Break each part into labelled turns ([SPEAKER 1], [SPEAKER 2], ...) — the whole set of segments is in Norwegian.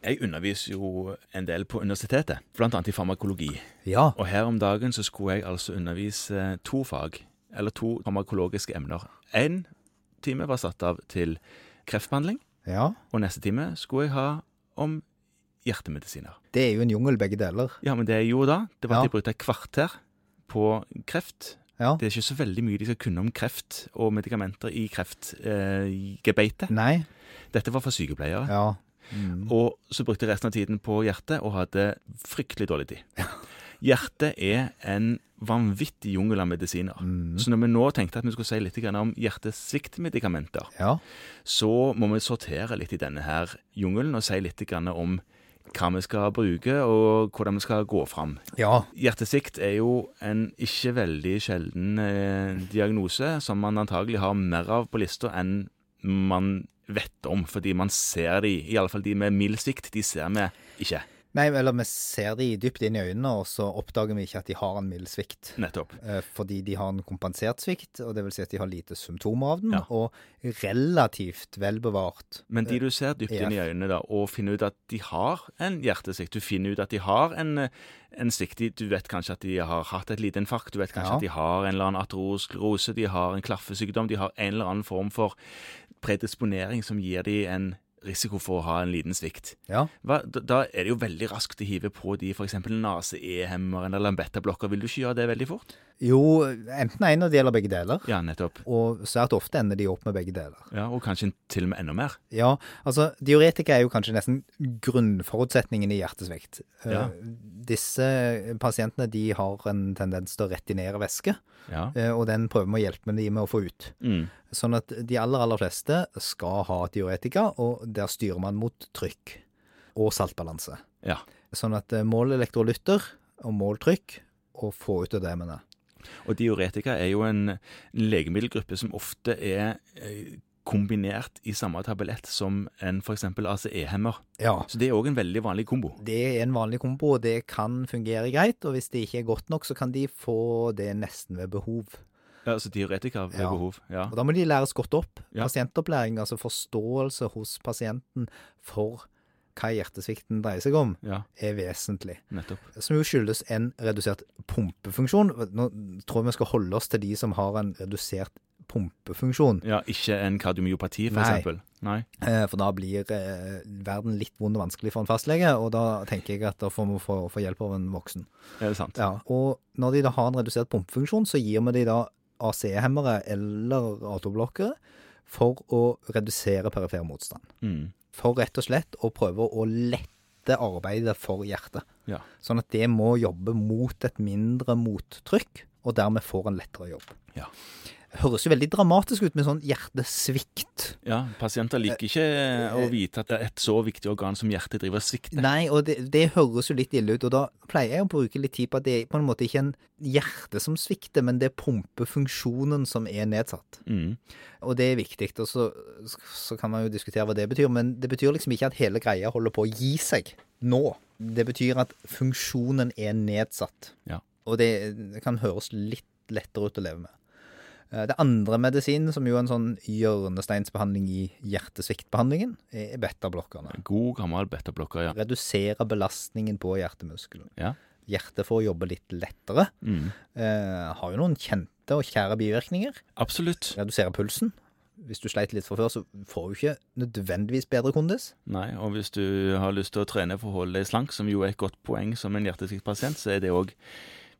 [SPEAKER 1] Jeg underviser jo en del på universitetet, bl.a. i farmakologi.
[SPEAKER 2] Ja.
[SPEAKER 1] Og her om dagen så skulle jeg altså undervise to fag, eller to farmakologiske emner. Én time var satt av til kreftbehandling,
[SPEAKER 2] ja.
[SPEAKER 1] og neste time skulle jeg ha om hjertemedisiner.
[SPEAKER 2] Det er jo en jungel, begge deler.
[SPEAKER 1] Ja, men det jeg gjorde da, det var
[SPEAKER 2] Ja.
[SPEAKER 1] at jeg brukte et kvarter på kreft.
[SPEAKER 2] Ja.
[SPEAKER 1] Det er ikke så veldig mye de skal kunne om kreft og medikamenter i kreftgebeitet.
[SPEAKER 2] Nei.
[SPEAKER 1] Dette var for sykepleiere.
[SPEAKER 2] Ja. Mm.
[SPEAKER 1] Og så brukte jeg resten av tiden på hjertet og hadde fryktelig dårlig tid. Hjertet er en vanvittig jungel av medisiner.
[SPEAKER 2] Mm.
[SPEAKER 1] Så når vi nå tenkte at vi skulle si litt grann om hjertesviktmedikamenter,
[SPEAKER 2] Ja.
[SPEAKER 1] så må vi sortere litt i denne her jungelen og si litt grann om hva vi skal bruke, og hvordan vi skal gå fram.
[SPEAKER 2] ja.
[SPEAKER 1] Hjertesvikt er jo en ikke veldig sjelden eh, diagnose som man antagelig har mer av på lista enn man vet om, fordi man ser de, i alle fall de med mild svikt, de ser vi ikke
[SPEAKER 2] Nei, eller vi ser de dypt inn i øynene, og så oppdager vi ikke at de har en mild svikt.
[SPEAKER 1] nettopp.
[SPEAKER 2] Eh, Fordi de har en kompensert svikt, og det vil si at de har lite symptomer av den,
[SPEAKER 1] Ja.
[SPEAKER 2] og relativt velbevart.
[SPEAKER 1] Men de du ser dypt inn i øynene da, og finner ut at de har en hjertesvikt, du finner ut at de har en, eh, en svikt, i- du vet kanskje at de har hatt et lite infarkt, du vet kanskje
[SPEAKER 2] Ja.
[SPEAKER 1] at de har en eller annen aterosklerose, de har en klaffesykdom, de har en eller annen form for predisponering som gir de en risiko for å ha en liten svikt.
[SPEAKER 2] Ja.
[SPEAKER 1] Hva, da- da er det jo veldig raskt å hive på de f.eks. nase-e-hemmeren eller lambetta-blokker. Vil du ikke gjøre det veldig fort?
[SPEAKER 2] Jo, enten en av de eller begge deler.
[SPEAKER 1] Ja, nettopp.
[SPEAKER 2] Og svært ofte ender de opp med begge deler.
[SPEAKER 1] Ja, Og kanskje til og med enda mer.
[SPEAKER 2] Ja, altså diuretika er jo kanskje nesten grunnforutsetningen i hjertesvikt. Eh,
[SPEAKER 1] Ja.
[SPEAKER 2] Disse pasientene de har en tendens til å retinere væske,
[SPEAKER 1] Ja.
[SPEAKER 2] eh, og den prøver vi å hjelpe de med å få ut.
[SPEAKER 1] Mm.
[SPEAKER 2] Sånn at de aller, aller fleste skal ha diuretika, og der styrer man mot trykk og saltbalanse.
[SPEAKER 1] ja.
[SPEAKER 2] Sånn at eh, mål elektrolytter og mål trykk, og få ut ødemene.
[SPEAKER 1] Og diuretika er jo en legemiddelgruppe som ofte er eh, kombinert i samme tablett som en f.eks. ACE-hemmer.
[SPEAKER 2] Ja.
[SPEAKER 1] Så det er òg en veldig vanlig kombo.
[SPEAKER 2] Det er en vanlig kombo, og det kan fungere greit. Og hvis det ikke er godt nok, så kan de få det nesten ved behov.
[SPEAKER 1] Ja, Altså diuretika ved
[SPEAKER 2] Ja.
[SPEAKER 1] behov. Ja.
[SPEAKER 2] Og da må de læres godt opp.
[SPEAKER 1] Ja.
[SPEAKER 2] Pasientopplæring, altså forståelse hos pasienten for hva hjertesvikten dreier seg om,
[SPEAKER 1] ja,
[SPEAKER 2] er vesentlig.
[SPEAKER 1] nettopp.
[SPEAKER 2] Som jo skyldes en redusert pumpefunksjon. Nå tror jeg vi skal holde oss til de som har en redusert pumpefunksjon,
[SPEAKER 1] Ja, Ikke en kardiomyopati,
[SPEAKER 2] Nei.
[SPEAKER 1] f.eks. Nei.
[SPEAKER 2] eh, for da blir eh, verden litt vond og vanskelig for en fastlege, og da tenker jeg at da får vi få, få hjelp av en voksen.
[SPEAKER 1] Er det sant?
[SPEAKER 2] Ja, og når de da har en redusert pumpefunksjon, så gir vi de da ACE-hemmere eller autoblokkere for å redusere perifer motstand.
[SPEAKER 1] Mm.
[SPEAKER 2] For rett og slett å prøve å lette arbeidet for hjertet.
[SPEAKER 1] Ja.
[SPEAKER 2] Sånn at det må jobbe mot et mindre mottrykk, og dermed får en lettere jobb.
[SPEAKER 1] Ja.
[SPEAKER 2] Høres jo veldig dramatisk ut med sånn hjertesvikt.
[SPEAKER 1] Ja, pasienter liker ikke å vite at det er et så viktig organ som hjertet driver og svikter.
[SPEAKER 2] Eh, Nei, og det, det høres jo litt ille ut, og da pleier jeg å bruke litt tid på at det er på en måte ikke en hjerte som svikter, men det er pumpefunksjonen som er nedsatt.
[SPEAKER 1] Mm.
[SPEAKER 2] Og det er viktig, og så, så kan man jo diskutere hva det betyr, men det betyr liksom ikke at hele greia holder på å gi seg nå. Det betyr at funksjonen er nedsatt.
[SPEAKER 1] Ja.
[SPEAKER 2] Og det kan høres litt lettere ut å leve med. Eh, Det andre medisinen, som jo er en sånn hjørnesteinsbehandling i hjertesviktbehandlingen, er beta-blokkerne
[SPEAKER 1] God gammel betablokker, ja.
[SPEAKER 2] redusere belastningen på hjertemuskelen.
[SPEAKER 1] Ja.
[SPEAKER 2] Hjertet får jobbe litt lettere.
[SPEAKER 1] Mm.
[SPEAKER 2] Eh, har jo noen kjente og kjære bivirkninger.
[SPEAKER 1] Absolutt.
[SPEAKER 2] Redusere pulsen. Hvis du sleit litt fra før, så får du ikke nødvendigvis bedre kondis.
[SPEAKER 1] Nei, og hvis du har lyst til å trene for å holde deg slank, som jo er et godt poeng som en hjertesviktpasient, så er det òg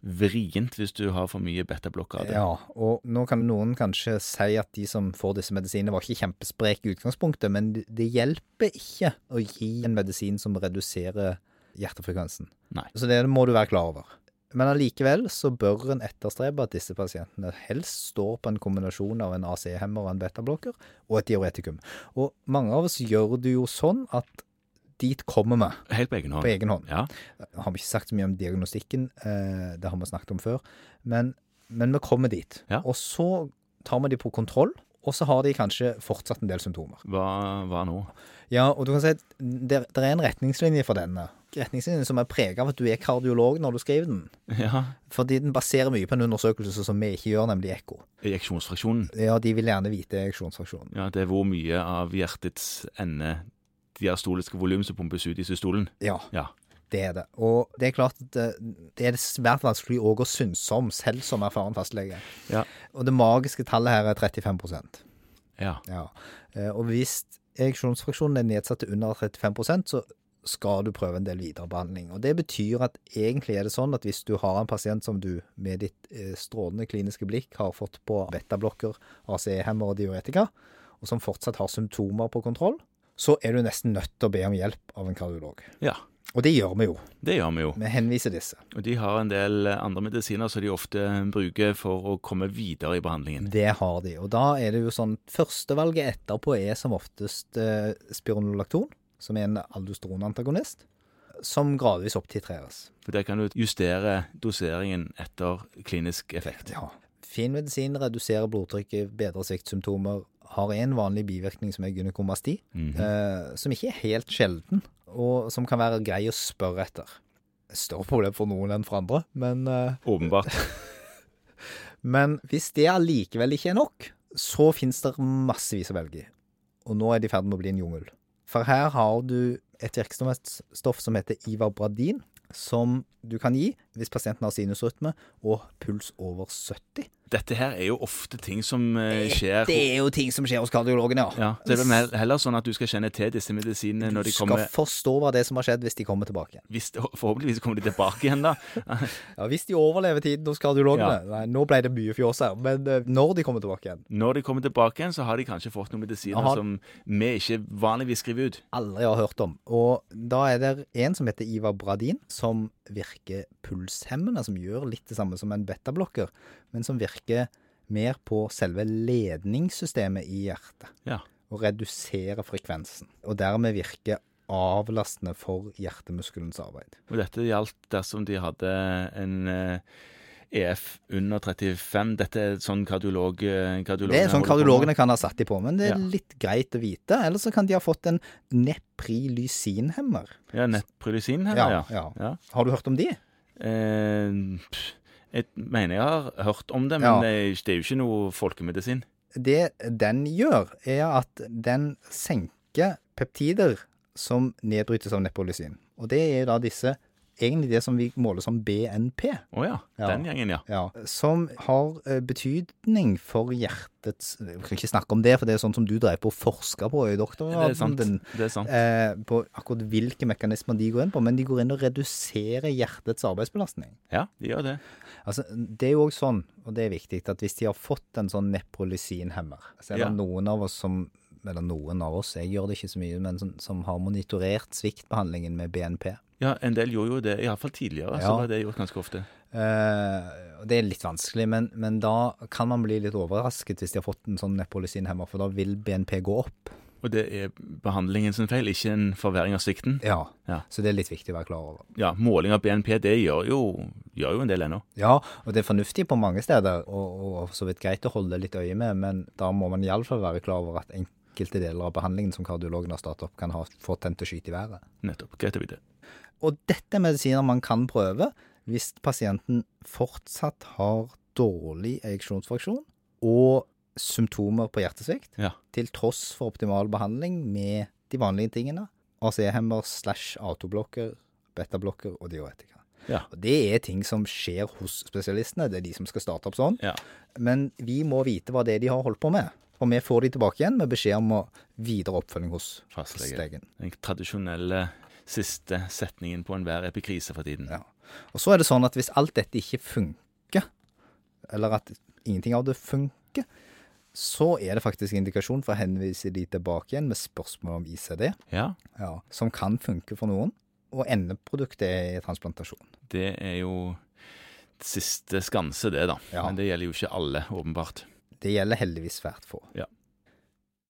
[SPEAKER 1] vrient hvis du har for mye betablokkade.
[SPEAKER 2] Ja, og nå kan noen kanskje si at de som får disse medisinene var ikke kjempespreke i utgangspunktet, men det hjelper ikke å gi en medisin som reduserer hjertefrekvensen.
[SPEAKER 1] Nei.
[SPEAKER 2] Så det må du være klar over. Men allikevel så bør en etterstrebe at disse pasientene helst står på en kombinasjon av en AC-hemmer og en betablokker og et diuretikum. Og mange av oss gjør det jo sånn at dit kommer vi
[SPEAKER 1] Helt på egen
[SPEAKER 2] på
[SPEAKER 1] hånd.
[SPEAKER 2] egen hånd
[SPEAKER 1] Ja.
[SPEAKER 2] har vi ikke sagt så mye om diagnostikken, eh, det har vi snakket om før, men, men vi kommer dit.
[SPEAKER 1] Ja.
[SPEAKER 2] Og så tar vi de på kontroll, og så har de kanskje fortsatt en del symptomer.
[SPEAKER 1] Hva, hva nå?
[SPEAKER 2] Ja, og du kan si at det, det er en retningslinje for denne. Retningslinjen som er preget av at du er kardiolog når du skriver den.
[SPEAKER 1] Ja,
[SPEAKER 2] Fordi den baserer mye på en undersøkelse som vi ikke gjør, nemlig ekko.
[SPEAKER 1] ejeksjonsfraksjonen.
[SPEAKER 2] Ja, de vil gjerne vite ejeksjonsfraksjonen.
[SPEAKER 1] Ja, det er hvor mye av hjertets ende diastoliske volum som pumpes ut i systolen.
[SPEAKER 2] Ja,
[SPEAKER 1] Ja.
[SPEAKER 2] det er det. Og det er klart at eh, det er svært vanskelig òg å synse om, selv som erfaren fastlege.
[SPEAKER 1] Ja.
[SPEAKER 2] Og det magiske tallet her er 35
[SPEAKER 1] ja.
[SPEAKER 2] ja. Eh, Og hvis ereksjonsfraksjonen er nedsatt til under 35 så skal du prøve en del viderebehandling. Og det betyr at egentlig er det sånn at hvis du har en pasient som du med ditt eh, strålende kliniske blikk har fått på betablokker, ACE-hemmer og diuretika, og som fortsatt har symptomer på kontroll, så er du nesten nødt til å be om hjelp av en kardiolog.
[SPEAKER 1] Ja.
[SPEAKER 2] Og det gjør vi jo.
[SPEAKER 1] Det gjør vi jo.
[SPEAKER 2] Vi henviser disse.
[SPEAKER 1] Og de har en del andre medisiner som de ofte bruker for å komme videre i behandlingen.
[SPEAKER 2] Det har de. Og da er det jo sånn Førstevalget etterpå er som oftest eh, spironolakton, som er en aldosteronantagonist, som gradvis opptitreres.
[SPEAKER 1] For der kan du justere doseringen etter klinisk effekt.
[SPEAKER 2] Ja. Fin medisin reduserer blodtrykket, bedrer sviktsymptomer, har en vanlig bivirkning som er gynekomasti,
[SPEAKER 1] Mhm.
[SPEAKER 2] eh, som ikke er helt sjelden, og som kan være grei å spørre etter. Større problem for noen enn for andre, men eh,
[SPEAKER 1] Åpenbart.
[SPEAKER 2] Men hvis det allikevel ikke er nok, så finnes det massevis å velge i. Og nå er det i ferd med å bli en jungel. For her har du et virksomhetsstoff som heter Ivabradin, som du kan gi hvis pasienten har sinusrytme og puls over 70.
[SPEAKER 1] Dette her er jo ofte ting som eh, skjer
[SPEAKER 2] Det er jo ting som skjer hos kardiologene,
[SPEAKER 1] ja, så det er vel hel- heller sånn at du skal kjenne til disse medisinene når de
[SPEAKER 2] Du skal
[SPEAKER 1] kommer
[SPEAKER 2] forstå hva det er som har skjedd hvis de kommer tilbake igjen.
[SPEAKER 1] hvis, Forhåpentligvis kommer de tilbake igjen, da.
[SPEAKER 2] Ja, Hvis de overlever tiden hos kardiologene. Nei, nå ble det mye fjås her, men eh, når de kommer tilbake igjen
[SPEAKER 1] Når de kommer tilbake igjen, så har de kanskje fått noen medisiner
[SPEAKER 2] Aha.
[SPEAKER 1] som vi ikke vanligvis skriver ut.
[SPEAKER 2] aldri har hørt om. Og da er det en som heter Ivar Bradin, som virker pulshemmende, som gjør litt det samme som en betablokker, men som virker mer på selve ledningssystemet i hjertet,
[SPEAKER 1] Ja.
[SPEAKER 2] og reduserer frekvensen. Og dermed virker avlastende for hjertemuskelens arbeid.
[SPEAKER 1] Og dette gjaldt dersom de hadde en eh, EF under 35. Dette er sånn kardiolog... eh, kardiologene
[SPEAKER 2] Det er
[SPEAKER 1] holder på
[SPEAKER 2] sånn
[SPEAKER 1] med.
[SPEAKER 2] kardiologene kan ha satt de på, men det er
[SPEAKER 1] Ja.
[SPEAKER 2] litt greit å vite. Eller så kan de ha fått en neprilysinhemmer.
[SPEAKER 1] Ja, Neprolysin her, ja.
[SPEAKER 2] Ja, ja.
[SPEAKER 1] Ja.
[SPEAKER 2] Har du hørt om de?
[SPEAKER 1] Eh, pff, jeg mener jeg har hørt om det, men
[SPEAKER 2] Ja.
[SPEAKER 1] det er ikke- det er jo ikke noe folkemedisin.
[SPEAKER 2] det den gjør, er at den senker peptider som nedbrytes av neprolysin. Og det er da disse Egentlig det som vi måler som BNP,
[SPEAKER 1] Å ja,
[SPEAKER 2] Ja.
[SPEAKER 1] Den gjengen, ja.
[SPEAKER 2] ja, som har eh, betydning for hjertets Vi kan ikke snakke om det, for det er sånn som du drev på å forske på i
[SPEAKER 1] Det er
[SPEAKER 2] doktorgraden
[SPEAKER 1] sant.
[SPEAKER 2] din.
[SPEAKER 1] Det er sant.
[SPEAKER 2] Eh, på akkurat hvilke mekanismer de går inn på, men de går inn og reduserer hjertets arbeidsbelastning.
[SPEAKER 1] Ja, de gjør det.
[SPEAKER 2] Altså, det er jo òg sånn, og det er viktig, at hvis de har fått en sånn neprolysinhemmer Så er det
[SPEAKER 1] Ja.
[SPEAKER 2] noen av oss som Eller noen av oss, jeg gjør det ikke så mye, men som, som har monitorert sviktbehandlingen med BNP.
[SPEAKER 1] Ja, en del gjorde jo det. Iallfall tidligere
[SPEAKER 2] Ja.
[SPEAKER 1] så var det gjort ganske ofte.
[SPEAKER 2] Eh, og det er litt vanskelig, men, men da kan man bli litt overrasket hvis de har fått en sånn neprolysinhemmer, for da vil BNP gå opp.
[SPEAKER 1] Og det er behandlingen sin feil, ikke en forverring av svikten.
[SPEAKER 2] Ja.
[SPEAKER 1] Ja.
[SPEAKER 2] Så det er litt viktig å være klar over.
[SPEAKER 1] Ja, måling av BNP, det gjør jo, gjør jo en del ennå.
[SPEAKER 2] Ja, og det er fornuftig på mange steder, og, og for så vidt greit å holde litt øye med, men da må man iallfall være klar over at enkelte deler av behandlingen som kardiologen har startet opp, kan ha fått den til å skyte i været.
[SPEAKER 1] Nettopp. Greit å vite.
[SPEAKER 2] Og dette er medisiner man kan prøve hvis pasienten fortsatt har dårlig ereksjonsfraksjon og symptomer på hjertesvikt,
[SPEAKER 1] Ja.
[SPEAKER 2] til tross for optimal behandling med de vanlige tingene, AC-hemmer slash A2-blokker, beta-blokker og diuretika.
[SPEAKER 1] Ja.
[SPEAKER 2] Og Det er ting som skjer hos spesialistene, det er de som skal starte opp sånn.
[SPEAKER 1] Ja.
[SPEAKER 2] Men vi må vite hva det er de har holdt på med. Og vi får de tilbake igjen med beskjed om å videre oppfølging hos
[SPEAKER 1] Fastlege.
[SPEAKER 2] fastlegen.
[SPEAKER 1] Den tradisjonelle siste setningen på enhver epikrise for tiden.
[SPEAKER 2] Ja. Og så er det sånn at hvis alt dette ikke funker, eller at ingenting av det funker, så er det faktisk indikasjon for å henvise de tilbake igjen med spørsmål om ICD,
[SPEAKER 1] Ja,
[SPEAKER 2] ja, som kan funke for noen, og endeproduktet er transplantasjon.
[SPEAKER 1] det er jo siste skanse, det, da.
[SPEAKER 2] Ja.
[SPEAKER 1] Men det gjelder jo ikke alle, åpenbart.
[SPEAKER 2] Det gjelder heldigvis svært få.
[SPEAKER 1] Ja.